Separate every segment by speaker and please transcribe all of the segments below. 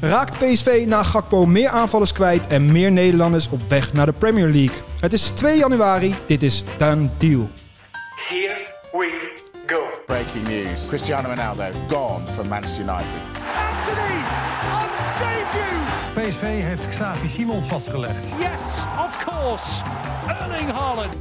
Speaker 1: Raakt PSV na Gakpo meer aanvallers kwijt en meer Nederlanders op weg naar de Premier League? Het is 2 januari, dit is Dan Deal.
Speaker 2: Here we go.
Speaker 3: Breaking news Cristiano Ronaldo gone from Manchester United.
Speaker 4: Anthony on debut.
Speaker 5: PSV heeft Xavi Simons vastgelegd.
Speaker 4: Yes, of course. Erling Haaland.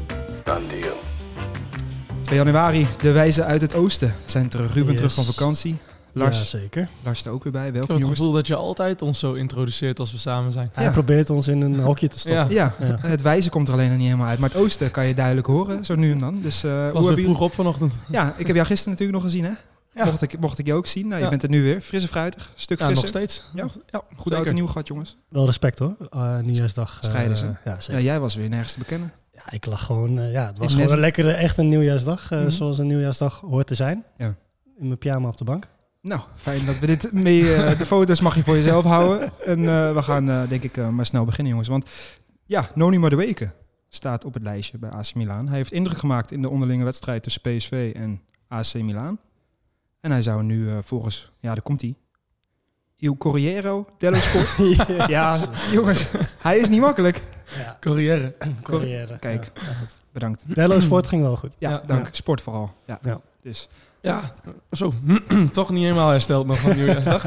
Speaker 1: 2 januari, de wijzen uit het oosten zijn terug. Ruben
Speaker 6: Yes.
Speaker 1: terug van vakantie. Lars,
Speaker 6: Ja, zeker.
Speaker 1: Lars er ook weer bij.
Speaker 7: Ik heb
Speaker 1: Welkom
Speaker 7: het
Speaker 1: jongens.
Speaker 7: gevoel dat je altijd ons zo introduceert als we samen zijn.
Speaker 1: Ja.
Speaker 6: Hij probeert ons in een hokje te stoppen.
Speaker 7: Ja,
Speaker 1: Ja,
Speaker 6: Ja.
Speaker 1: het wijzen komt er alleen nog niet helemaal uit. Maar het oosten kan je duidelijk horen, zo nu en dan. Dus, eh,
Speaker 7: ik
Speaker 1: hoe
Speaker 7: was
Speaker 1: hebben
Speaker 7: weer
Speaker 1: jullie-
Speaker 7: vroeg op vanochtend.
Speaker 1: Ja, ik heb jou gisteren natuurlijk nog gezien, hè?
Speaker 7: Ja.
Speaker 1: Mocht, ik, mocht ik je ook zien. Nou, je
Speaker 7: Ja.
Speaker 1: bent er nu weer. Frisse fruitig, stuk
Speaker 7: Ja, nog
Speaker 1: frisser.
Speaker 7: steeds.
Speaker 1: Ja. Goed
Speaker 7: zeker.
Speaker 1: oud en nieuw gehad, jongens.
Speaker 6: Wel respect hoor. Eh nieuwjaarsdag. eh,
Speaker 1: Strijden ze.
Speaker 6: ja,
Speaker 1: Ja,
Speaker 6: zeker. Ja,
Speaker 1: jij was weer nergens te bekennen.
Speaker 6: ik lag gewoon. eh, ja, het was
Speaker 1: In
Speaker 6: gewoon
Speaker 1: Nes-
Speaker 6: een lekkere, echt een nieuwjaarsdag. eh,
Speaker 1: Mhm.
Speaker 6: Zoals een nieuwjaarsdag hoort te zijn.
Speaker 1: Ja.
Speaker 6: In mijn pyjama op de bank.
Speaker 1: Nou, fijn dat we dit mee... eh, de foto's mag je voor jezelf houden. En eh, we gaan, eh, denk ik, eh, maar snel beginnen, jongens. Want ja, Noni Madueke staat op het lijstje bij AC Milan. Hij heeft indruk gemaakt in de onderlinge wedstrijd tussen PSV en AC Milan. En hij zou nu eh, volgens... Ja, daar komt hij. Il Corriero dello Sport. ja, jongens. Hij is niet makkelijk.
Speaker 6: Ja,
Speaker 7: Carrière.
Speaker 6: carrière.
Speaker 1: Kijk, bedankt.
Speaker 6: Ja. Dello Sport ging wel goed.
Speaker 1: Ja,
Speaker 7: Ja,
Speaker 1: dank. Sport vooral. Ja.
Speaker 6: Ja.
Speaker 1: Dus
Speaker 7: Ja, zo. Toch niet helemaal hersteld nog van Nieuwjaarsdag.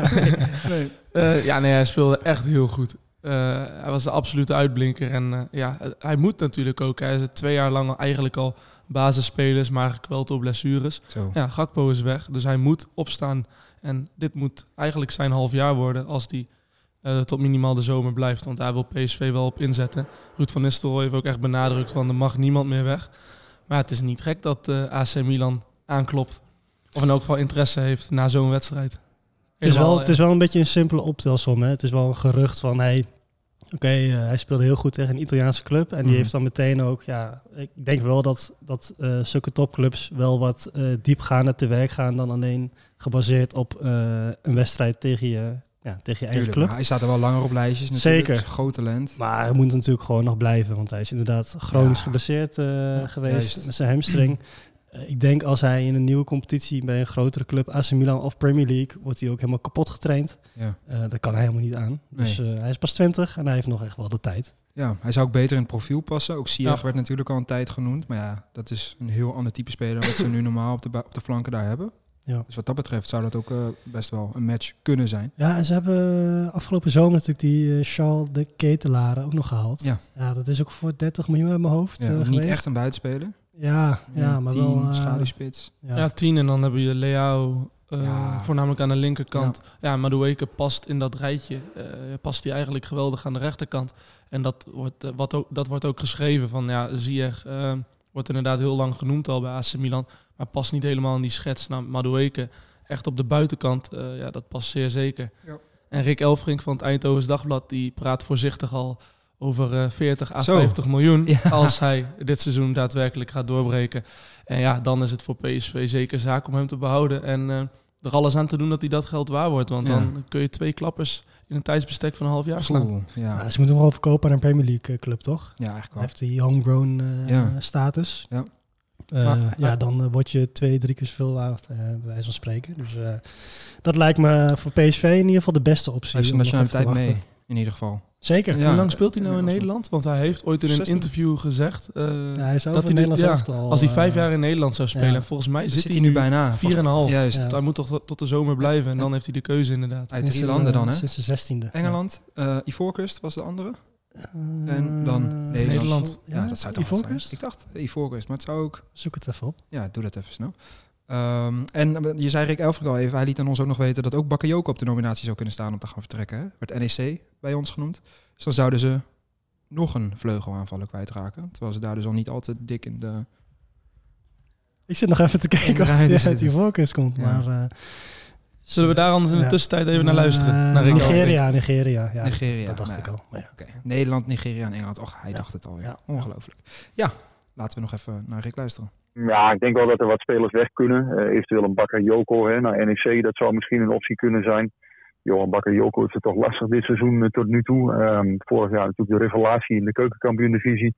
Speaker 7: Eh, ja, nee, hij speelde echt heel goed. Eh, hij was de absolute uitblinker. En eh, ja, eh, hij moet natuurlijk ook. Hij is het twee jaar lang al- eigenlijk al basisspelers, maar gekweld door blessures.
Speaker 1: zo.
Speaker 7: Ja, Gakpo is weg, dus hij moet opstaan. En dit moet eigenlijk zijn half jaar worden als hij eh, tot minimaal de zomer blijft. Want daar wil PSV wel op inzetten. Ruud van Nistelrooy heeft ook echt benadrukt van er mag niemand meer weg. Maar het is niet gek dat eh, AC Milan aanklopt. Of in elk geval interesse heeft na zo'n wedstrijd.
Speaker 6: Het is, wel,
Speaker 7: Helemaal,
Speaker 6: het is wel een beetje een simpele optelsom. Hè? Het is wel een gerucht van, hey, oké, eh, hij speelde heel goed tegen een Italiaanse club. En die
Speaker 1: Mhm.
Speaker 6: heeft dan meteen ook, ja, ik denk wel dat, dat eh, zulke topclubs wel wat eh diepgaander te werk gaan dan alleen gebaseerd op eh, een wedstrijd tegen je, ja, tegen je eigen
Speaker 1: Tuurlijk,
Speaker 6: club.
Speaker 1: maar hij staat er wel langer op lijstjes natuurlijk.
Speaker 6: Zeker.
Speaker 1: Is een Groot talent.
Speaker 6: Maar hij moet natuurlijk gewoon nog blijven, want hij is inderdaad chronisch
Speaker 1: Ja.
Speaker 6: geblesseerd eh, geweest
Speaker 1: juist.
Speaker 6: met zijn hamstring. Eh, Ik denk als hij in een nieuwe competitie bij een grotere club, AC Milan of Premier League, wordt hij ook helemaal kapot getraind.
Speaker 1: Ja.
Speaker 6: Eh, dat kan hij helemaal niet aan. Dus eh, hij is pas 20 en hij heeft nog echt wel de tijd.
Speaker 1: Ja, hij zou ook beter in het profiel passen. Ook Sierg
Speaker 7: Ja.
Speaker 1: werd natuurlijk al een tijd genoemd. Maar ja, dat is een heel ander type speler dan wat ze nu normaal op de, ba- op de flanken daar hebben.
Speaker 6: Ja.
Speaker 1: Dus wat dat betreft zou dat ook eh, best wel een match kunnen zijn.
Speaker 6: Ja, en ze hebben afgelopen zomer natuurlijk die eh, Charles de Ketelaren ook nog gehaald.
Speaker 1: Ja.
Speaker 6: dat is ook voor 30 miljoen uit mijn hoofd.
Speaker 1: Ja,
Speaker 6: eh,
Speaker 1: niet
Speaker 6: geweest.
Speaker 1: echt een buitenspeler.
Speaker 6: Ja, ja maar wel. eh,
Speaker 1: schaduwspits.
Speaker 6: ja.
Speaker 7: Ja, tien en dan hebben je Leao eh,
Speaker 1: Ja.
Speaker 7: voornamelijk aan de linkerkant. Ja, Madueke past in dat rijtje. eh, past hij eigenlijk geweldig aan de rechterkant. En dat wordt, eh, wat ook, dat wordt ook geschreven van, ja, Ziyech eh, wordt inderdaad heel lang genoemd al bij AC Milan. Maar past niet helemaal in die schets. Nou, Madueke echt op de buitenkant, eh, ja, dat past zeer zeker.
Speaker 1: Ja.
Speaker 7: En Rick Elfrink van het Eindhovens Dagblad, die praat voorzichtig al over eh, 40 à
Speaker 1: Zo.
Speaker 7: 50 miljoen.
Speaker 1: Ja.
Speaker 7: Als hij dit seizoen daadwerkelijk gaat doorbreken. En ja, dan is het voor PSV zeker zaak om hem te behouden. En eh, er alles aan te doen dat hij dat geld waar wordt. Want
Speaker 1: Ja.
Speaker 7: dan kun je twee klappers in een tijdsbestek van een half jaar slaan.
Speaker 1: Oeh, ja.
Speaker 6: Ja, ze moeten hem wel verkopen aan een Premier League eh, club, toch?
Speaker 1: ja, eigenlijk
Speaker 6: Hij
Speaker 1: wel.
Speaker 6: heeft die homegrown eh,
Speaker 1: Ja.
Speaker 6: status.
Speaker 1: Ja.
Speaker 6: Eh,
Speaker 7: Maar-
Speaker 6: ja, dan eh, word je twee, drie keer zoveel waard, eh, bij wijze van spreken. Dus eh, dat lijkt me voor PSV in ieder geval de beste optie.
Speaker 1: Hij heeft
Speaker 6: om
Speaker 1: zijn
Speaker 6: nog even te
Speaker 1: nationaliteit
Speaker 6: wachten.
Speaker 1: mee, in ieder geval.
Speaker 6: Zeker.
Speaker 1: Ja.
Speaker 7: Hoe lang speelt hij nou
Speaker 1: Ja,
Speaker 7: in
Speaker 1: dat is-
Speaker 7: Nederland? Want hij heeft ooit in een
Speaker 1: 16.
Speaker 7: interview gezegd... eh,
Speaker 6: Ja, hij is
Speaker 7: Dat
Speaker 6: over
Speaker 7: hij dit-
Speaker 6: Nederlands
Speaker 7: ja,
Speaker 6: elftal,
Speaker 7: als hij vijf
Speaker 6: eh,
Speaker 7: jaar in Nederland zou spelen.
Speaker 6: ja.
Speaker 7: En volgens mij
Speaker 1: Zit,
Speaker 7: zit,
Speaker 1: hij nu bijna? Volgens-
Speaker 7: 4,5.
Speaker 1: Juist.
Speaker 6: Ja.
Speaker 7: Dus Hij moet toch tot de zomer blijven. En dan heeft hij de keuze inderdaad.
Speaker 1: Uit
Speaker 6: sinds
Speaker 1: drie
Speaker 6: de-
Speaker 1: landen dan, hè?
Speaker 6: Sinds de zestiende.
Speaker 1: Engeland, eh, Ivoorkust was de andere.
Speaker 6: Ja.
Speaker 1: En dan
Speaker 6: Eh,
Speaker 1: Nederland. Ja, dat zou toch wat zijn.
Speaker 6: Ivoorkust?
Speaker 1: Ik dacht Ivoorkust, maar het zou ook...
Speaker 6: Zoek het even op.
Speaker 1: Ja, doe dat even snel. Ehm, en je zei Rick Elfrink al even, hij liet aan ons ook nog weten dat ook Bakayoko op de nominatie zou kunnen staan om te gaan vertrekken. Hè? Werd NEC bij ons genoemd. Dus dan zouden ze nog een vleugelaanvaller kwijtraken. Terwijl ze daar dus al niet al te dik in de...
Speaker 6: Ik zit nog even te kijken
Speaker 1: rij
Speaker 6: of
Speaker 1: te
Speaker 6: hij uit
Speaker 1: zitten.
Speaker 6: Ivoorkust komt.
Speaker 1: Ja.
Speaker 6: Maar, eh,
Speaker 7: Zullen we daar anders in de
Speaker 6: Ja.
Speaker 7: tussentijd even naar luisteren?
Speaker 6: eh,
Speaker 7: Naar Rick Elfrink.
Speaker 6: Nigeria, Nigeria. Ja,
Speaker 1: Nigeria.
Speaker 6: dat dacht
Speaker 1: nou
Speaker 6: ik
Speaker 1: ja,
Speaker 6: al. Maar ja.
Speaker 1: oké. Nederland, Nigeria en Engeland. Och, hij
Speaker 6: Ja.
Speaker 1: dacht het alweer.
Speaker 6: Ja.
Speaker 1: Ongelooflijk. Ja, laten we nog even naar Rick luisteren.
Speaker 8: Ja, ik denk wel dat er wat spelers weg kunnen. Eh, eventueel een Bakayoko hè, Nou, naar NEC, dat zou misschien een optie kunnen zijn. Johan Bakayoko is het toch lastig dit seizoen eh, tot nu toe. Ehm, vorig jaar natuurlijk de revelatie in de keukenkampioen-divisie.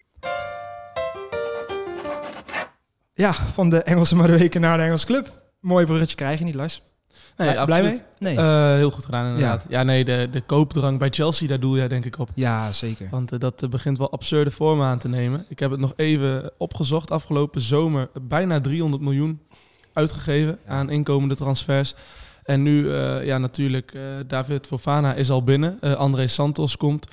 Speaker 1: Ja, van de Engelse Madueke naar de Engelse club. Mooi bruggetje krijg je niet, Lars.
Speaker 7: Nee,
Speaker 1: Blij- Blij
Speaker 7: absoluut.
Speaker 1: mee? Nee.
Speaker 7: Eh, heel goed gedaan inderdaad. Ja, nee, de, de koopdrang bij Chelsea, daar doel jij denk ik op.
Speaker 1: ja, zeker.
Speaker 7: Want eh, dat eh, begint wel absurde vormen aan te nemen. Ik heb het nog even opgezocht. Afgelopen zomer bijna 300 miljoen uitgegeven aan inkomende transfers. En nu, eh, ja natuurlijk, eh, David Fofana is al binnen. Eh, André Santos komt.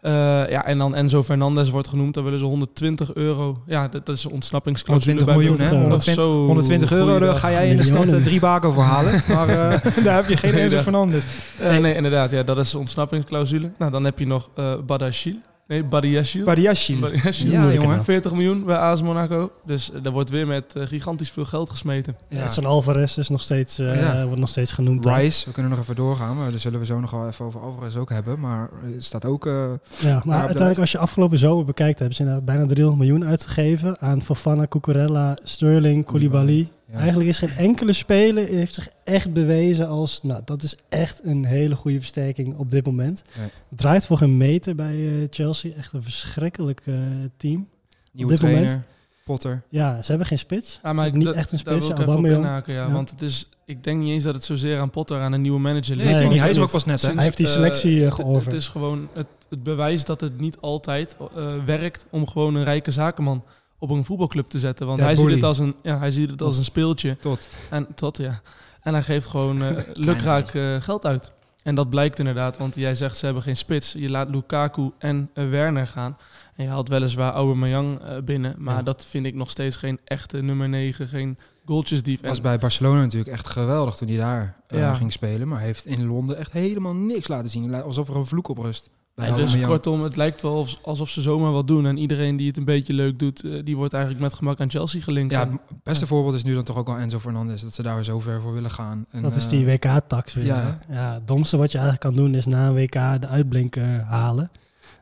Speaker 7: Eh, ja, en dan Enzo Fernandez wordt genoemd. Daar willen ze 120 euro. Ja, dat, dat is een ontsnappingsclausule.
Speaker 1: 120
Speaker 7: bij
Speaker 1: miljoen, hè?
Speaker 7: Benfica.
Speaker 1: 120,
Speaker 7: Zo,
Speaker 1: 120 euro, daar
Speaker 7: goeiedag.
Speaker 1: ga jij in de stad
Speaker 6: Miljoenen.
Speaker 1: eh, drie baken voor halen. Maar eh, daar heb je geen
Speaker 7: Nee,
Speaker 1: Enzo
Speaker 7: dat-
Speaker 1: Fernandes.
Speaker 7: Eh, nee. inderdaad. Ja, dat is de ontsnappingsclausule. Nou, dan heb je nog eh Badashil. Nee, Badiashil.
Speaker 1: Badiashile.
Speaker 7: Badiashil.
Speaker 1: Ja,
Speaker 6: Moeilijke
Speaker 1: jongen.
Speaker 6: naam.
Speaker 7: 40 miljoen bij AS Monaco. Dus eh, daar wordt weer met eh, gigantisch veel geld gesmeten.
Speaker 1: Ja.
Speaker 6: Edson Alvarez is nog steeds, eh,
Speaker 1: Ja.
Speaker 6: wordt nog steeds genoemd. hè.
Speaker 1: Rice, we kunnen nog even doorgaan, maar daar zullen we zo nog wel even over Alvarez ook hebben. Maar het staat ook... eh,
Speaker 6: Ja, maar
Speaker 1: lijst.
Speaker 6: uiteindelijk als je afgelopen zomer bekijkt, hebben ze inderdaad bijna 300 miljoen uitgegeven aan Fofana, Cucurella, Sterling, Koulibaly.
Speaker 1: ja.
Speaker 6: Eigenlijk is geen enkele speler heeft zich echt bewezen als, nou dat is echt een hele goede versterking op dit moment.
Speaker 1: Nee.
Speaker 6: Draait voor geen meter bij eh, Chelsea, echt een verschrikkelijk eh, team.
Speaker 1: Nieuwe
Speaker 6: dit
Speaker 1: trainer,
Speaker 6: moment-
Speaker 1: Potter.
Speaker 6: Ja, ze hebben geen spits.
Speaker 7: Ja, maar
Speaker 6: Niet
Speaker 7: dat-
Speaker 6: echt een
Speaker 7: daar
Speaker 6: spits,
Speaker 7: wil ik even op
Speaker 6: Aubameyang.
Speaker 7: inhaken, ja,
Speaker 6: Ja.
Speaker 7: Want het is, ik denk niet eens dat het zozeer aan Potter, aan een nieuwe manager ligt.
Speaker 1: Nee,
Speaker 6: tuurlijk
Speaker 1: hij is er ook
Speaker 6: niet.
Speaker 1: pas net, hè?
Speaker 6: Hij heeft die
Speaker 7: eh,
Speaker 6: selectie, eh,
Speaker 7: het- Het,
Speaker 6: geoverd.
Speaker 7: is gewoon het, het bewijs dat het niet altijd eh, werkt om gewoon een rijke zakenman op een voetbalclub te zetten. Want
Speaker 1: Ted
Speaker 7: hij ziet,
Speaker 1: Boehly.
Speaker 7: het als een, ja, hij ziet het als een speeltje.
Speaker 1: Tot.
Speaker 7: En tot, ja. En hij geeft gewoon eh, lukraak eh, geld uit. En dat blijkt inderdaad, want jij zegt ze hebben geen spits. Je laat Lukaku en eh, Werner gaan. En je haalt weliswaar Aubameyang eh binnen. Maar
Speaker 1: Ja.
Speaker 7: dat vind ik nog steeds geen echte nummer 9, geen goaltjesdief.
Speaker 1: Was
Speaker 7: En
Speaker 1: bij Barcelona natuurlijk echt geweldig toen hij daar eh,
Speaker 7: Ja.
Speaker 1: ging spelen. Maar hij heeft in Londen echt helemaal niks laten zien. Lijkt Alsof er een vloek op rust. Bij
Speaker 7: En dus
Speaker 1: Aubameyang.
Speaker 7: kortom, het lijkt wel als- alsof ze zomaar wat doen. En iedereen die het een beetje leuk doet, eh, die wordt eigenlijk met gemak aan Chelsea gelinkt.
Speaker 1: Ja,
Speaker 7: En-
Speaker 1: het beste voorbeeld is nu dan toch ook wel Enzo Fernandez. Dat ze daar zo ver voor willen gaan. En,
Speaker 6: Dat is
Speaker 1: eh,
Speaker 6: die WK-tax weer.
Speaker 1: ja.
Speaker 6: Ja. ja, het domste wat je eigenlijk kan doen is na een WK de uitblinker halen.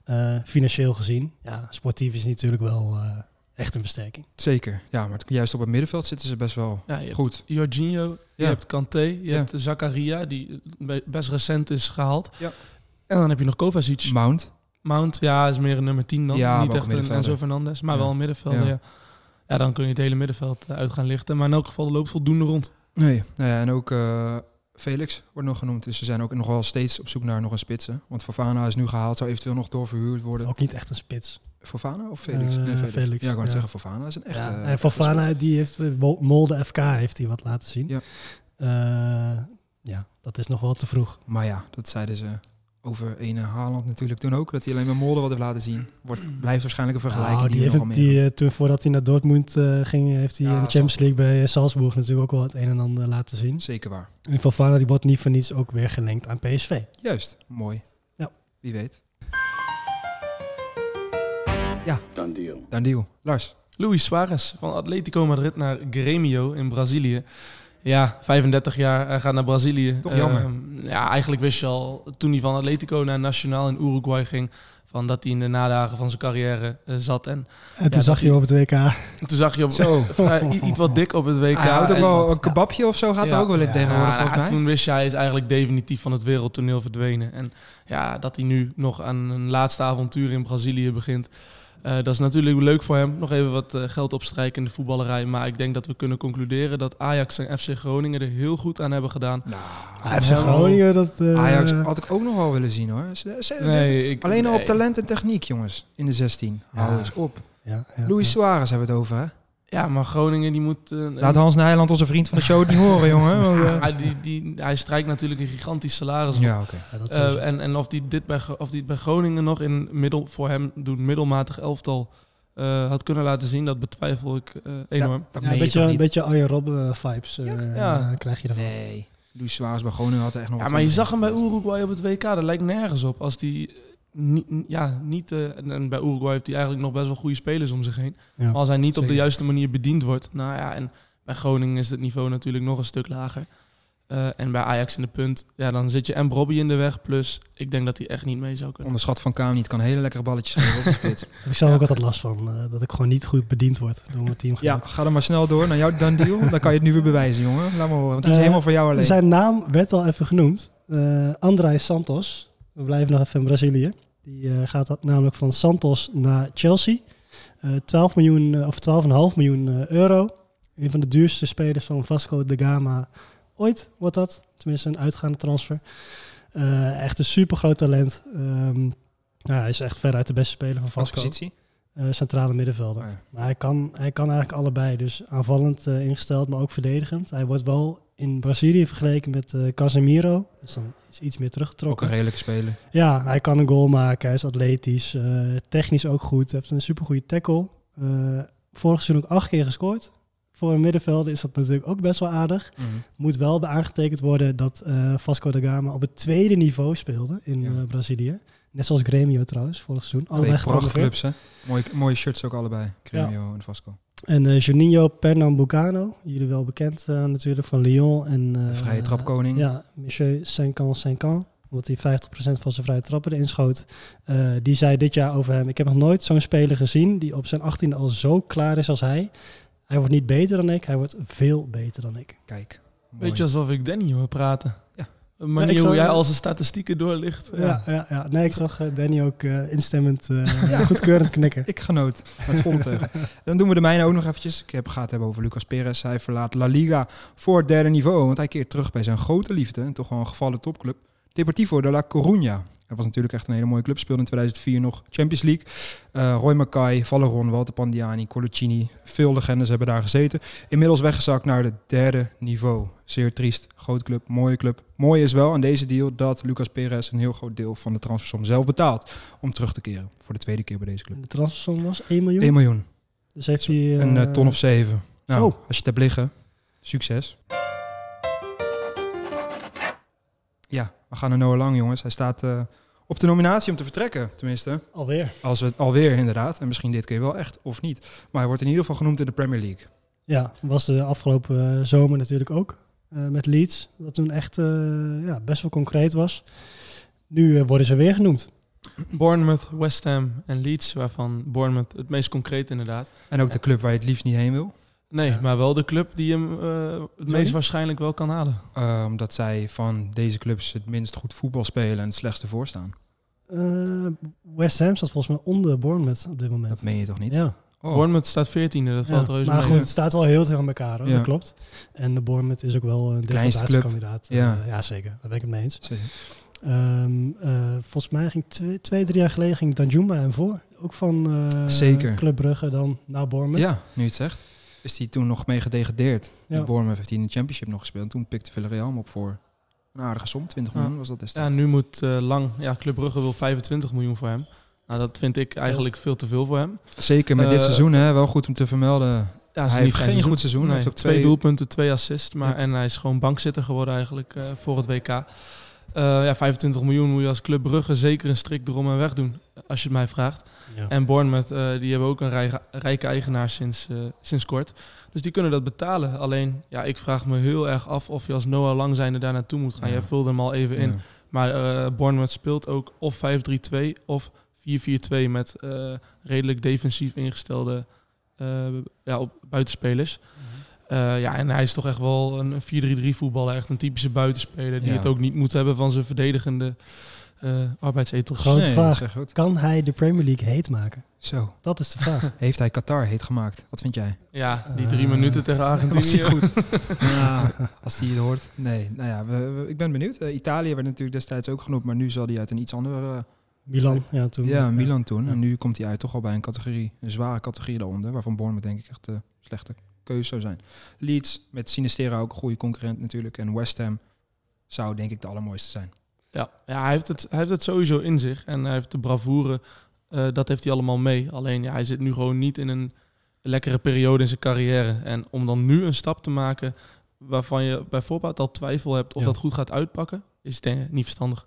Speaker 6: Eh, financieel gezien. Ja, sportief is natuurlijk wel eh, echt een versterking.
Speaker 1: Zeker. Ja, maar het- juist op het middenveld zitten ze best wel
Speaker 7: ja, je hebt
Speaker 1: goed.
Speaker 7: Jorginho, je
Speaker 1: Ja.
Speaker 7: hebt Kanté, je
Speaker 1: Ja.
Speaker 7: hebt Zakaria, die be- best recent is gehaald.
Speaker 1: Ja.
Speaker 7: En dan heb je nog Kovacic.
Speaker 1: Mount.
Speaker 7: Mount, ja, is meer een nummer 10 dan.
Speaker 1: Ja, maar ook
Speaker 7: Niet
Speaker 1: een
Speaker 7: echt een
Speaker 1: middenvelder.
Speaker 7: Enzo Fernandes, maar
Speaker 1: Ja.
Speaker 7: wel een middenvelder.
Speaker 1: Ja.
Speaker 7: Ja. Ja, dan kun je het hele middenveld eh, uit gaan lichten. Maar in elk geval er loopt voldoende rond.
Speaker 1: Nee. Nou ja, en ook eh, Felix wordt nog genoemd. Dus ze zijn ook nog wel steeds op zoek naar nog een spitsen. Want Fofana is nu gehaald. Zou eventueel nog doorverhuurd worden.
Speaker 6: Ook niet echt een spits.
Speaker 1: Fofana of Felix?
Speaker 6: Eh,
Speaker 1: nee, Felix.
Speaker 6: Felix,
Speaker 1: Ja, ik wou net
Speaker 6: ja.
Speaker 1: zeggen, Fofana is een echte...
Speaker 6: ja.
Speaker 1: eh,
Speaker 6: en Fofana, die heeft, Mol- Molde FK heeft hij wat laten zien.
Speaker 1: Ja.
Speaker 6: Eh, ja, dat is nog wel te vroeg.
Speaker 1: Maar ja, dat zeiden ze over ene Haaland natuurlijk toen ook. Dat hij alleen maar Molde wat heeft laten zien. Wordt, blijft waarschijnlijk een vergelijking
Speaker 6: Nou,
Speaker 1: die,
Speaker 6: die heeft
Speaker 1: we
Speaker 6: het-
Speaker 1: nog
Speaker 6: die,
Speaker 1: meer
Speaker 6: eh, toen voordat hij naar Dortmund eh, ging, heeft hij
Speaker 1: Ja,
Speaker 6: in de Champions League bij eh, Salzburg natuurlijk ook wel het een en ander laten zien.
Speaker 1: Zeker waar.
Speaker 6: En Fofana die wordt niet voor niets ook weer gelinkt aan PSV.
Speaker 1: Juist, mooi.
Speaker 6: Ja.
Speaker 1: Wie weet. Ja. Dan deal. Dan deal. Lars.
Speaker 7: Luis Suarez van Atletico Madrid naar Grêmio in Brazilië. Ja, 35 jaar, hij gaat naar Brazilië.
Speaker 1: Toch jammer.
Speaker 7: Ehm, ja, eigenlijk wist je al toen hij van Atletico naar Nacional in Uruguay ging... Van dat hij in de nadagen van zijn carrière eh, zat. En
Speaker 6: En toen
Speaker 7: dat
Speaker 6: zag je hem op het WK.
Speaker 1: Ah,
Speaker 7: toen zag je hem
Speaker 1: Zo.
Speaker 7: vrij- i- iets wat dik op het WK.
Speaker 1: Hij houdt ook
Speaker 7: En-
Speaker 1: wel een kebabje of zo. Gaat
Speaker 7: Ja.
Speaker 1: er ook wel in
Speaker 6: Ja.
Speaker 1: tegenwoordig,
Speaker 7: Ja,
Speaker 1: volgens mij.
Speaker 7: Toen wist je, hij is eigenlijk definitief van het wereldtoneel verdwenen. En ja, dat hij nu nog aan een laatste avontuur in Brazilië begint. eh, dat is natuurlijk leuk voor hem. Nog even wat eh, geld opstrijken in de voetballerij. Maar ik denk dat we kunnen concluderen dat Ajax en FC Groningen er heel goed aan hebben gedaan.
Speaker 1: Nou,
Speaker 6: FC Groningen, dat... eh,
Speaker 1: Ajax oh, had ik ook nog wel willen zien, hoor. Ze- ze-
Speaker 7: ik,
Speaker 1: Alleen al
Speaker 7: nee.
Speaker 1: op talent en techniek, jongens. In de 16. Hou
Speaker 6: Ja.
Speaker 1: eens op.
Speaker 6: Ja, ja,
Speaker 1: Luis
Speaker 6: ja.
Speaker 1: Suarez hebben we het over, hè?
Speaker 7: Ja, maar Groningen die moet... eh,
Speaker 1: Laat Hans Nijland, onze vriend van de show, het niet horen, jongen. want, eh,
Speaker 7: hij, die, die, hij strijkt natuurlijk een gigantisch salaris op.
Speaker 1: Ja, oké.
Speaker 6: Ja, dat
Speaker 7: Eh,
Speaker 6: sowieso.
Speaker 7: en en of, die dit bij, Gro- of die het bij Groningen nog in middel, voor hem doen middelmatig elftal eh, had kunnen laten zien, dat betwijfel ik eh, enorm.
Speaker 1: Dat meen
Speaker 6: Ja, een
Speaker 1: je
Speaker 6: beetje,
Speaker 1: toch
Speaker 6: een
Speaker 1: niet?
Speaker 6: beetje Arjen Robben vibes eh,
Speaker 7: Ja.
Speaker 6: krijg je ervan.
Speaker 1: Nee. Luis Suarez bij Groningen had er echt nog
Speaker 7: Ja,
Speaker 1: wat
Speaker 7: maar je
Speaker 1: aan.
Speaker 7: zag hem bij Uruguay op het WK, dat lijkt nergens op. Als die eh, niet, ja, niet eh, en- en bij Uruguay heeft hij eigenlijk nog best wel goede spelers om zich heen.
Speaker 6: Ja.
Speaker 7: Maar als hij niet op
Speaker 1: Zeker.
Speaker 7: de juiste manier bediend wordt, nou ja, en bij Groningen is het niveau natuurlijk nog een stuk lager. Eh, en bij Ajax in de punt, ja, dan zit je en Robbie in de weg. Plus, ik denk dat hij echt niet mee zou kunnen.
Speaker 1: Onderschat van Kaam niet. Kan hele lekkere balletjes geven op de spits.
Speaker 6: Ik zelf ook altijd last van, eh, dat ik gewoon niet goed bediend word door mijn team.
Speaker 1: ja, Nou, ga dan maar snel door naar jouw dan deal. Dan kan je het nu weer bewijzen, jongen. Laat maar horen. Want die is
Speaker 6: Eh,
Speaker 1: helemaal voor jou alleen.
Speaker 6: Zijn naam werd al even genoemd. Eh André Santos. We blijven nog even in Brazilië. Die eh, gaat namelijk van Santos naar Chelsea. Eh 12 miljoen, eh, of 12,5 miljoen eh, euro. Een van de duurste spelers van Vasco da Gama ooit wordt dat. Tenminste, een uitgaande transfer. Eh, echt een supergroot talent. Ehm, ja, hij is echt veruit de beste speler van
Speaker 1: Van
Speaker 6: Vasco.
Speaker 1: positie.
Speaker 6: Eh, centrale middenvelder.
Speaker 1: Oh ja.
Speaker 6: Maar hij kan, hij kan eigenlijk allebei. Dus aanvallend eh, ingesteld, maar ook verdedigend. Hij wordt wel in Brazilië vergeleken met eh, Casemiro. Dus dan is iets meer
Speaker 1: Ook een
Speaker 6: teruggetrokken.
Speaker 1: redelijke speler.
Speaker 6: Ja, hij kan een goal maken. Hij is atletisch. eh, technisch ook goed. Hij heeft een supergoeie tackle. Eh vorig seizoen ook acht keer gescoord. Voor een middenvelder is dat natuurlijk ook best wel aardig.
Speaker 1: Mhm.
Speaker 6: Moet wel bij aangetekend worden dat eh, Vasco da Gama op het tweede niveau speelde in
Speaker 1: Ja.
Speaker 6: eh, Brazilië. Net zoals Grêmio trouwens, vorig seizoen.
Speaker 1: Twee
Speaker 6: Allebei
Speaker 1: prachtige
Speaker 6: gepromoveerd.
Speaker 1: clubs, hè? Mooie, mooie shirts ook allebei. Cremio en Vasco.
Speaker 6: En eh Juninho Pernambucano, jullie wel bekend eh, natuurlijk van Lyon. En, eh,
Speaker 1: De vrije trapkoning.
Speaker 6: Ja, Monsieur Cinquant Cinquant, omdat hij 50% van zijn vrije trappen erin schoot. Eh, die zei dit jaar over hem, ik heb nog nooit zo'n speler gezien die op zijn 18e al zo klaar is als hij. Hij wordt niet beter dan ik, hij wordt veel beter dan ik.
Speaker 1: Kijk. Oh, mooi.
Speaker 7: Beetje alsof ik Danny hoor praten.
Speaker 1: Ja.
Speaker 7: Een manier
Speaker 6: Ja, ik zou-
Speaker 7: hoe jij al zijn statistieken doorlicht.
Speaker 6: Ja, ja, ja, nee, ik zag eh, Danny ook eh, instemmend, eh, goedkeurend knikken.
Speaker 1: Ik genoot met volle teugen. En Dan doen we de mijne ook nog eventjes. Ik heb gaat het hebben over Lucas Perez. Hij verlaat La Liga voor het derde niveau. Want hij keert terug bij zijn grote liefde. En toch wel een gevallen topclub. Deportivo de La Coruña. Dat was natuurlijk echt een hele mooie club. Speelde in 2004 nog Champions League. Eh, Roy Mackay, Valeron, Walter Pandiani, Colucini. Veel legendes hebben daar gezeten. Inmiddels weggezakt naar het derde niveau. Zeer triest. Groot club, mooie club. Mooi is wel aan deze deal dat Lucas Perez een heel groot deel van de transfersom zelf betaalt. Om terug te keren voor de tweede keer bij deze club.
Speaker 6: De transfersom was 1 miljoen.
Speaker 1: 1 miljoen.
Speaker 6: dus heeft hij... eh,
Speaker 1: Een eh, ton of zeven. Nou,
Speaker 6: Zo.
Speaker 1: als je het hebt liggen, succes. Ja, we gaan naar Noah Lang, jongens. Hij staat eh, op de nominatie om te vertrekken, tenminste.
Speaker 6: Alweer.
Speaker 1: Als we het alweer, inderdaad. En misschien dit keer wel echt, of niet. Maar hij wordt in ieder geval genoemd in de Premier League.
Speaker 6: Ja, was de afgelopen eh, zomer natuurlijk ook. eh, met Leeds. Dat toen echt eh, ja, best wel concreet was. Nu eh, worden ze weer genoemd.
Speaker 7: Bournemouth, West Ham en Leeds, waarvan Bournemouth het meest concreet inderdaad.
Speaker 1: En ook de club waar je het liefst niet heen wil.
Speaker 7: Nee, maar wel de club die hem eh, het meest
Speaker 6: niet?
Speaker 7: waarschijnlijk wel kan halen.
Speaker 1: Eh, omdat zij van deze clubs het minst goed voetbal spelen en het slechtste voorstaan.
Speaker 6: Eh, West Ham staat volgens mij onder Bournemouth op dit moment.
Speaker 1: Dat meen je toch niet?
Speaker 6: Ja,
Speaker 1: Oh,
Speaker 7: Bournemouth staat 14e, dat
Speaker 6: Ja,
Speaker 7: valt reuze
Speaker 6: maar
Speaker 7: mee.
Speaker 6: goed, het staat wel heel tegen elkaar, hoor.
Speaker 1: Ja.
Speaker 6: dat klopt. En de Bournemouth is ook wel een
Speaker 1: kleinste club.
Speaker 6: degradatiekandidaat. Eh,
Speaker 1: Ja.
Speaker 6: ja, zeker. Daar ben ik het mee eens.
Speaker 1: zeker.
Speaker 6: Ehm, eh, volgens mij ging twee, twee, drie jaar geleden ging Danjuma hem voor. Ook van eh,
Speaker 1: Zeker.
Speaker 6: Club Brugge dan naar Bournemouth.
Speaker 1: Ja, nu je het zegt. Is hij toen nog mee gedegradeerd?
Speaker 6: Ja.
Speaker 1: Ja. Bournemouth heeft hij in de Championship nog gespeeld. Toen pikte Villarreal hem op voor een aardige som. 20
Speaker 7: Ja.
Speaker 1: miljoen was dat
Speaker 7: Ja,
Speaker 1: destijds.
Speaker 7: nu moet eh, Lang... Ja, Club Brugge wil 25 miljoen voor hem. Nou, dat vind ik eigenlijk veel te veel voor hem.
Speaker 1: Zeker met dit
Speaker 7: Eh,
Speaker 1: seizoen, hè, wel goed om te vermelden.
Speaker 7: Ja, het is
Speaker 1: hij
Speaker 7: niet
Speaker 1: heeft geen
Speaker 7: zijn seizoen.
Speaker 1: goed seizoen. Hij
Speaker 7: Nee,
Speaker 1: heeft ook
Speaker 7: twee,
Speaker 1: twee,
Speaker 7: doelpunten, twee assists. Maar,
Speaker 1: Ja.
Speaker 7: En hij is gewoon bankzitter geworden eigenlijk eh, voor het WK. Eh, ja, 25 miljoen moet je als Club Brugge zeker een strik erom en weg doen. Als je het mij vraagt.
Speaker 6: Ja.
Speaker 7: En Bournemouth, eh, die hebben ook een rij- rijke eigenaar sinds, eh, sinds kort. Dus die kunnen dat betalen. Alleen, ja, ik vraag me heel erg af of je als Noah Lang zijnde daar naartoe moet gaan.
Speaker 1: Ja.
Speaker 7: Jij vulde hem al even in.
Speaker 1: Ja.
Speaker 7: Maar eh Bournemouth speelt ook of 5-3-2 of 4-4-2 met eh, redelijk defensief ingestelde eh, ja, op buitenspelers.
Speaker 1: Mhm.
Speaker 7: Eh, ja, en hij is toch echt wel een 4-3-3 voetballer. Echt een typische buitenspeler die
Speaker 1: Ja.
Speaker 7: het ook niet moet hebben van zijn verdedigende eh arbeidsethos.
Speaker 6: Grote
Speaker 1: Nee,
Speaker 6: vraag.
Speaker 1: zeg goed.
Speaker 6: Kan hij de Premier League heet maken?
Speaker 1: Zo,
Speaker 6: Dat is de vraag.
Speaker 1: heeft hij Qatar heet gemaakt? Wat vind jij?
Speaker 7: Ja, die drie
Speaker 6: Eh,
Speaker 7: minuten tegen Argentinië.
Speaker 1: goed? Als hij het hoort. Nee, nou ja, we, we- ik ben benieuwd. Eh, Italië werd natuurlijk destijds ook genoemd, maar nu zal hij uit een iets eh, andere...
Speaker 6: Milan, ja, toen.
Speaker 1: ja, Milan toen.
Speaker 6: eh, Ja.
Speaker 1: En nu komt hij uit toch al bij een categorie, een zware categorie daaronder, waarvan Bournemouth denk ik echt de slechte keuze zou zijn. Leeds met Sinistera ook een goede concurrent natuurlijk. En West Ham zou denk ik de allermooiste zijn.
Speaker 7: Ja, ja hij, heeft het, hij heeft het sowieso in zich. En hij heeft de bravoure, eh, dat heeft hij allemaal mee. Alleen ja, hij zit nu gewoon niet in een lekkere periode in zijn carrière. En om dan nu een stap te maken waarvan je bij voorbaat al twijfel hebt of
Speaker 1: Ja.
Speaker 7: dat goed gaat uitpakken, is denk ik niet verstandig.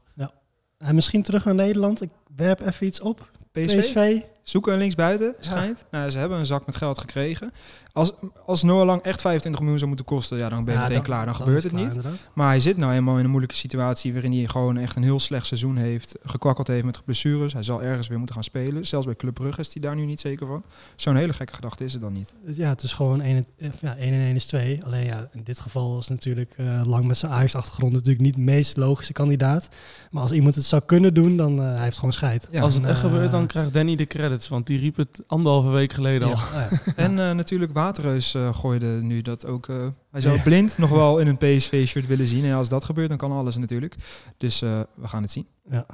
Speaker 6: En misschien terug naar Nederland. Ik werp even iets op.
Speaker 1: PSV,
Speaker 6: PSV.
Speaker 1: zoeken een linksbuiten, schijnt. Nou, ze hebben een zak met geld gekregen. Als, als Noah Lang echt 25 miljoen zou moeten kosten, ja, dan ben je
Speaker 6: Ja,
Speaker 1: meteen klaar. Dan, gebeurt
Speaker 6: is
Speaker 1: het
Speaker 6: klaar,
Speaker 1: niet.
Speaker 6: inderdaad.
Speaker 1: Maar hij zit nou eenmaal in een moeilijke situatie waarin hij gewoon echt een heel slecht seizoen heeft. Gekwakkeld heeft met blessures. Hij zal ergens weer moeten gaan spelen. Zelfs bij Club Brugge is hij daar nu niet zeker van. Zo'n hele gekke gedachte is het dan niet.
Speaker 6: Dus Ja, het is gewoon 1 ja, één en 1 is 2. Alleen ja, in dit geval is natuurlijk eh, lang met zijn Ajax-achtergrond natuurlijk niet de meest logische kandidaat. Maar als iemand het zou kunnen doen, dan eh, hij heeft gewoon scheid.
Speaker 1: Ja,
Speaker 7: Als het
Speaker 6: En,
Speaker 7: echt
Speaker 6: eh,
Speaker 7: gebeurt, dan dan krijgt Danny de credits, want die riep het anderhalve week geleden al.
Speaker 6: Oh, ja.
Speaker 1: En eh, natuurlijk Waterreus eh, gooide nu dat ook. eh, hij zou
Speaker 6: Ja.
Speaker 1: blind nog wel in een PSV-shirt willen zien. En als dat gebeurt, dan kan alles natuurlijk. Dus eh, we gaan het zien.
Speaker 6: Ja.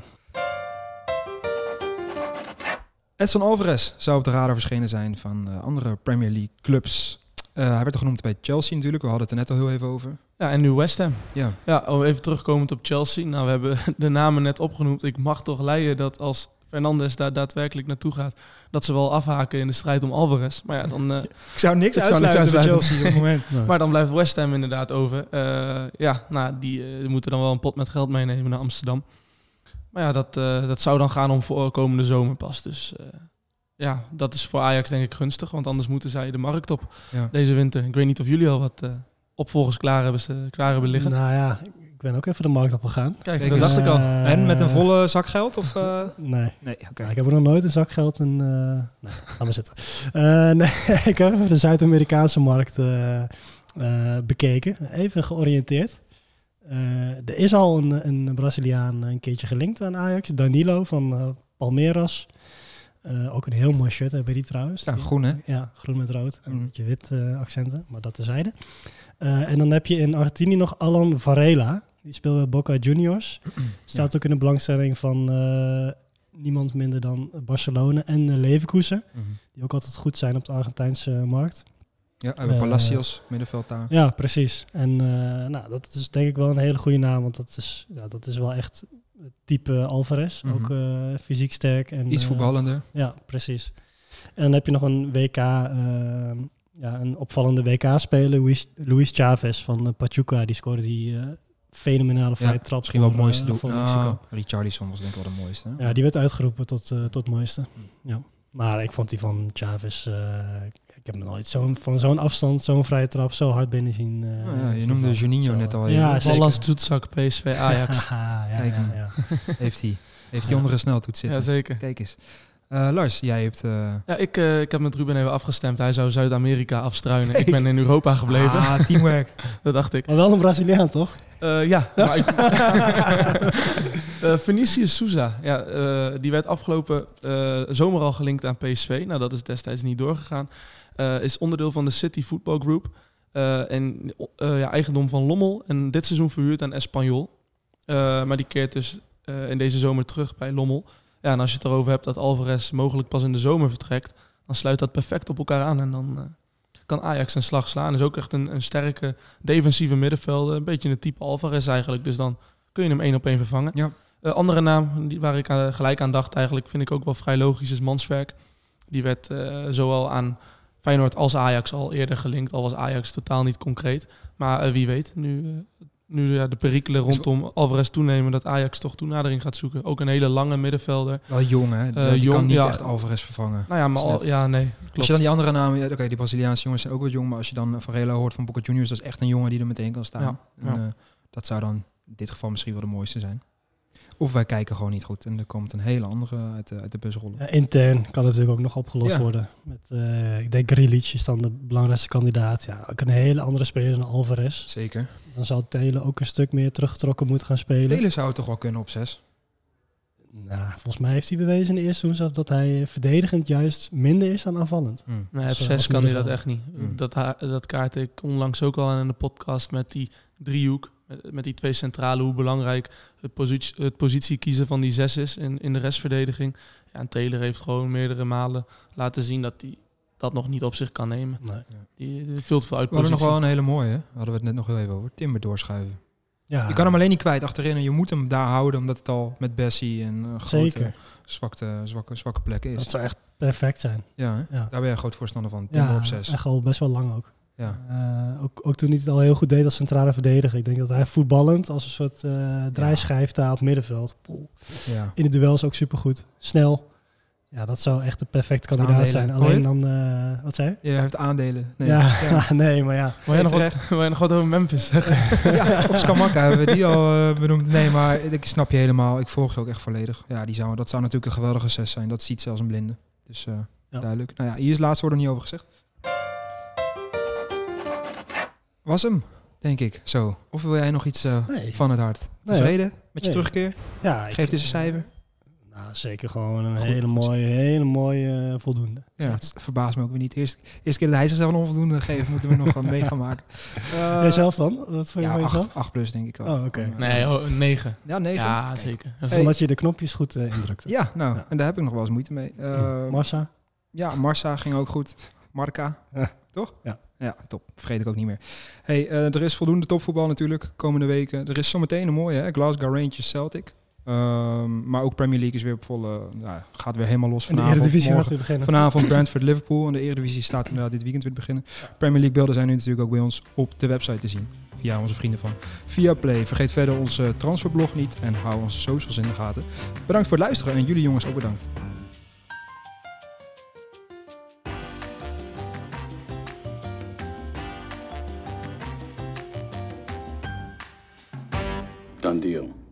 Speaker 1: Edson Alvarez zou op de radar verschenen zijn van eh, andere Premier League clubs. Eh, hij werd al genoemd bij Chelsea natuurlijk. We hadden het er net al heel even over.
Speaker 7: Ja, en nu West Ham.
Speaker 1: Ja,
Speaker 7: Ja, oh, even terugkomend op Chelsea. Nou, we hebben de namen net opgenoemd. Ik mag toch leiden dat als Fernandes daar daadwerkelijk naartoe gaat, dat ze wel afhaken in de strijd om Alvarez. Maar ja, dan, eh,
Speaker 1: ik zou niks
Speaker 7: Ik zou
Speaker 1: uitsluiten
Speaker 7: niks
Speaker 1: bij
Speaker 7: uitsluiten.
Speaker 1: Chelsea op het moment.
Speaker 7: maar dan blijft West Ham inderdaad over. Eh, ja, nou, die eh, moeten dan wel een pot met geld meenemen naar Amsterdam. Maar ja, dat, eh, dat zou dan gaan om voor komende zomer pas. Dus eh, ja, dat is voor Ajax denk ik gunstig, want anders moeten zij de markt op
Speaker 1: Ja.
Speaker 7: deze winter. Ik weet niet of jullie al wat eh, opvolgers klaar hebben, ze- klaar hebben liggen.
Speaker 6: Nou ja, ik- ik ben ook even de markt op gegaan.
Speaker 7: Kijk,
Speaker 1: Kijk eens.
Speaker 7: dat dacht ik al.
Speaker 6: Eh,
Speaker 1: en met een volle zak geld? Of, eh?
Speaker 6: Nee.
Speaker 1: Nee, oké.
Speaker 6: Nou, ik heb er nog nooit een zak geld en... eh, nee, laat maar zitten. Eh, nee, ik heb even de Zuid-Amerikaanse markt eh, eh, bekeken. Even georiënteerd. Eh, er is al een, een Braziliaan eh, een keertje gelinkt aan Ajax. Danilo van eh, Palmeiras. Eh, ook een heel mooi shirt hebben die trouwens.
Speaker 1: Ja,
Speaker 6: Die-
Speaker 1: groen hè?
Speaker 6: Ja, groen met rood. Een
Speaker 1: Mm.
Speaker 6: beetje wit eh, accenten, maar dat tezijde. Eh en dan heb je in Argentinië nog Alan Varela. Die speelt bij Boca Juniors. Staat ook in de belangstelling van eh, niemand minder dan Barcelona en eh, Leverkusen.
Speaker 1: Mhm.
Speaker 6: Die ook altijd goed zijn op de Argentijnse markt.
Speaker 1: Ja, we hebben
Speaker 6: Eh,
Speaker 1: Palacios, middenveld daar.
Speaker 6: Ja, precies. En eh, nou, dat is denk ik wel een hele goede naam. Want dat is, ja, dat is wel echt het type Alvarez.
Speaker 1: Mhm.
Speaker 6: Ook eh, fysiek sterk. En,
Speaker 1: Iets
Speaker 6: eh,
Speaker 1: voetballender.
Speaker 6: Ja, precies. En dan heb je nog een WK, eh, ja, een opvallende WK-speler, Luis, Luis Chavez van eh, Pachuca. Die scoorde die eh, fenomenale vrije
Speaker 1: Ja,
Speaker 6: trap.
Speaker 1: Misschien wel het
Speaker 6: voor,
Speaker 1: mooiste
Speaker 6: eh,
Speaker 1: doel.
Speaker 6: voor
Speaker 1: Nou,
Speaker 6: Mexico.
Speaker 1: Richarlison was denk ik wel de mooiste. hè?
Speaker 6: Ja, die werd uitgeroepen tot, eh, tot mooiste.
Speaker 1: Hm.
Speaker 6: Ja. Maar ik vond die van Chavez, eh, ik heb nog nooit zo'n, van zo'n afstand, zo'n vrije trap, zo hard binnen zien. eh,
Speaker 1: Nou ja, je
Speaker 6: zien
Speaker 1: noemde
Speaker 6: vallen.
Speaker 1: Juninho
Speaker 6: Zo,
Speaker 1: net al
Speaker 6: eh,
Speaker 1: even.
Speaker 6: Ja,
Speaker 1: Ballas
Speaker 6: zeker.
Speaker 7: Ballas Doetzak, PSV, Ajax.
Speaker 6: Haha, ja,
Speaker 1: Kijk
Speaker 6: ja,
Speaker 1: hem.
Speaker 6: ja.
Speaker 1: Heeft hij heeft
Speaker 6: Ja.
Speaker 1: hij onder een sneltoets zitten.
Speaker 7: Ja, zeker.
Speaker 1: Kijk eens. Eh, Lars, jij hebt... eh,
Speaker 7: Ja, ik, eh, ik heb met Ruben even afgestemd. Hij zou Zuid-Amerika afstruinen. Ik ben in Europa gebleven.
Speaker 1: Ah, teamwork.
Speaker 7: Dat dacht ik.
Speaker 6: Maar wel een Braziliaan, toch?
Speaker 7: Eh, ja, maar ik... Eh, Vinicius Souza. Ja, eh, die werd afgelopen eh, zomer al gelinkt aan PSV. Nou, dat is destijds niet doorgegaan. Eh, is onderdeel van de City Football Group. Eh, en eh, ja, eigendom van Lommel. En dit seizoen verhuurd aan Espanyol. Eh, maar die keert dus eh, in deze zomer terug bij Lommel. Ja, en als je het erover hebt dat Alvarez mogelijk pas in de zomer vertrekt... dan sluit dat perfect op elkaar aan en dan... eh, kan Ajax een slag slaan. Is ook echt een, een sterke defensieve middenvelder. Een beetje een type Alvarez eigenlijk. Dus dan kun je hem één op één vervangen.
Speaker 1: Ja.
Speaker 7: Eh, andere naam die, waar ik aan- gelijk aan dacht eigenlijk, vind ik ook wel vrij logisch, is Manswerk. Die werd eh, zowel aan Feyenoord als Ajax al eerder gelinkt. Al was Ajax totaal niet concreet. Maar eh, wie weet, nu, eh, nu ja, de perikelen rondom Alvarez toenemen... dat Ajax toch toenadering gaat zoeken. Ook een hele lange middenvelder.
Speaker 1: Wel jong, hè? Die, die
Speaker 7: jong,
Speaker 1: kan niet
Speaker 7: ja.
Speaker 1: echt Alvarez vervangen.
Speaker 7: Nou ja, maar
Speaker 1: Dat is
Speaker 7: al, ja, nee,
Speaker 1: Als
Speaker 7: klopt.
Speaker 1: je dan die andere namen... ja, Oké, die Braziliaanse jongens zijn ook wel jong. Maar als je dan Varela hoort van Boca Juniors... dat is echt een jongen die er meteen kan staan.
Speaker 7: Ja, ja.
Speaker 1: En, eh, dat zou dan in dit geval misschien wel de mooiste zijn. Of wij kijken gewoon niet goed. En er komt een hele andere uit de, uit de bus rollen.
Speaker 6: Ja, intern kan het natuurlijk ook nog opgelost
Speaker 1: Ja.
Speaker 6: worden. Met, eh, ik denk Grilic is dan de belangrijkste kandidaat. Ja, ook een hele andere speler dan Alvarez.
Speaker 1: Zeker.
Speaker 6: Dan zal Telen ook een stuk meer teruggetrokken moeten gaan spelen.
Speaker 1: Telen zou het toch wel kunnen op zes?
Speaker 6: Nou, volgens mij heeft hij bewezen in de eerste seizoen zelf dat hij eh, verdedigend juist minder is dan aanvallend.
Speaker 1: Hmm.
Speaker 7: Nee,
Speaker 6: Als,
Speaker 7: op
Speaker 6: eh,
Speaker 7: zes
Speaker 6: als
Speaker 7: kan hij dat echt
Speaker 6: middenvelder.
Speaker 7: niet.
Speaker 1: Hmm.
Speaker 7: Dat, ha- dat kaartte ik onlangs ook al aan in de podcast met die driehoek. Met, met die twee centrale, hoe belangrijk het, positie, het positie kiezen van die zes is in, in de restverdediging. Ja, en Taylor heeft gewoon meerdere malen laten zien dat hij dat nog niet op zich kan nemen.
Speaker 6: Nee.
Speaker 7: Die, die veel te veel
Speaker 1: We hadden
Speaker 7: uitpositie.
Speaker 1: nog wel een hele mooie. hè? Hadden we het net nog heel even over. Timber doorschuiven.
Speaker 6: Ja,
Speaker 1: Je kan hem alleen niet kwijt achterin. En je moet hem daar houden, omdat het al met Bessie een eh, grote
Speaker 6: Zeker.
Speaker 1: zwakte, zwakke, zwakke plek is.
Speaker 6: dat zou echt perfect zijn.
Speaker 1: ja, hè?
Speaker 6: Ja.
Speaker 1: daar ben je groot voorstander van. Timber
Speaker 6: Ja,
Speaker 1: op 6.
Speaker 6: echt al best wel lang ook.
Speaker 1: Ja.
Speaker 6: Eh, ook, ook toen hij het al heel goed deed als centrale verdediger. Ik denk dat hij voetballend als een soort eh draaischijf daar op middenveld. Poeh.
Speaker 1: Ja.
Speaker 6: In de duels ook supergoed. Snel. Ja, dat zou echt de perfecte
Speaker 1: Staan
Speaker 6: kandidaat
Speaker 1: delen.
Speaker 6: zijn.
Speaker 1: Hoor je
Speaker 6: Alleen dan... eh, wat zei je?
Speaker 1: Je heeft aandelen. Nee.
Speaker 6: ja, nee, maar ja.
Speaker 7: Wil jij nog,
Speaker 1: Nee,
Speaker 7: wat- wil jij nog wat over Memphis zeggen?
Speaker 1: Ja, Of Skamaka hebben we die al eh, benoemd. Nee, maar ik snap je helemaal. Ik volg je ook echt volledig. Ja, die zou, dat zou natuurlijk een geweldige 6 zijn. Dat ziet zelfs een blinde. Dus eh,
Speaker 6: Ja.
Speaker 1: duidelijk. Nou ja, hier is laatst wordt er niet over gezegd. Was hem, denk ik. Zo. Of wil jij nog iets eh,
Speaker 6: Nee.
Speaker 1: van het hart?
Speaker 6: Nee.
Speaker 1: Tevreden met je
Speaker 6: Nee.
Speaker 1: terugkeer?
Speaker 6: ja ik-
Speaker 1: Geef dus een cijfer.
Speaker 6: Nou, Ja, zeker gewoon een
Speaker 1: Goed.
Speaker 6: hele mooie, hele mooie eh, voldoende.
Speaker 1: Ja, het verbaast me ook weer niet. Eerst, eerst keer dat hij zichzelf een onvoldoende geeft, moeten we nog aan mee gaan maken. Eh,
Speaker 6: Jij zelf dan? Wat vond je
Speaker 1: ja,
Speaker 6: van jezelf?
Speaker 1: acht, acht plus denk ik wel.
Speaker 6: Oh, oké.
Speaker 7: Nee, oh, een negen.
Speaker 1: Ja, nee. zo.
Speaker 7: ja,
Speaker 1: Kijk.
Speaker 7: zeker.
Speaker 1: Hey.
Speaker 6: Omdat je de knopjes goed eh, indrukte.
Speaker 1: Ja, nou,
Speaker 6: Ja.
Speaker 1: en daar heb ik nog wel eens moeite mee. Eh,
Speaker 6: Marsa?
Speaker 1: ja, Marsa ging ook goed. Marca,
Speaker 6: Ja.
Speaker 1: toch?
Speaker 6: Ja.
Speaker 1: Ja, top. Vergeet ik ook niet meer. hey, eh, er is voldoende topvoetbal natuurlijk komende weken. Er is zometeen een mooie, hè? Glasgow Rangers Celtic. Ehm, maar ook Premier League is weer op volle... Nou, gaat weer helemaal los
Speaker 6: En de
Speaker 1: vanavond.
Speaker 6: Eredivisie
Speaker 1: morgen.
Speaker 6: gaat weer beginnen.
Speaker 1: Vanavond Brentford Liverpool en de Eredivisie staat inderdaad dit weekend weer te beginnen. Premier League beelden zijn nu natuurlijk ook bij ons op de website te zien. Via onze vrienden van Viaplay. Vergeet verder onze eh, transferblog niet en hou onze socials in de gaten. Bedankt voor het luisteren en jullie jongens ook bedankt.
Speaker 9: Done deal.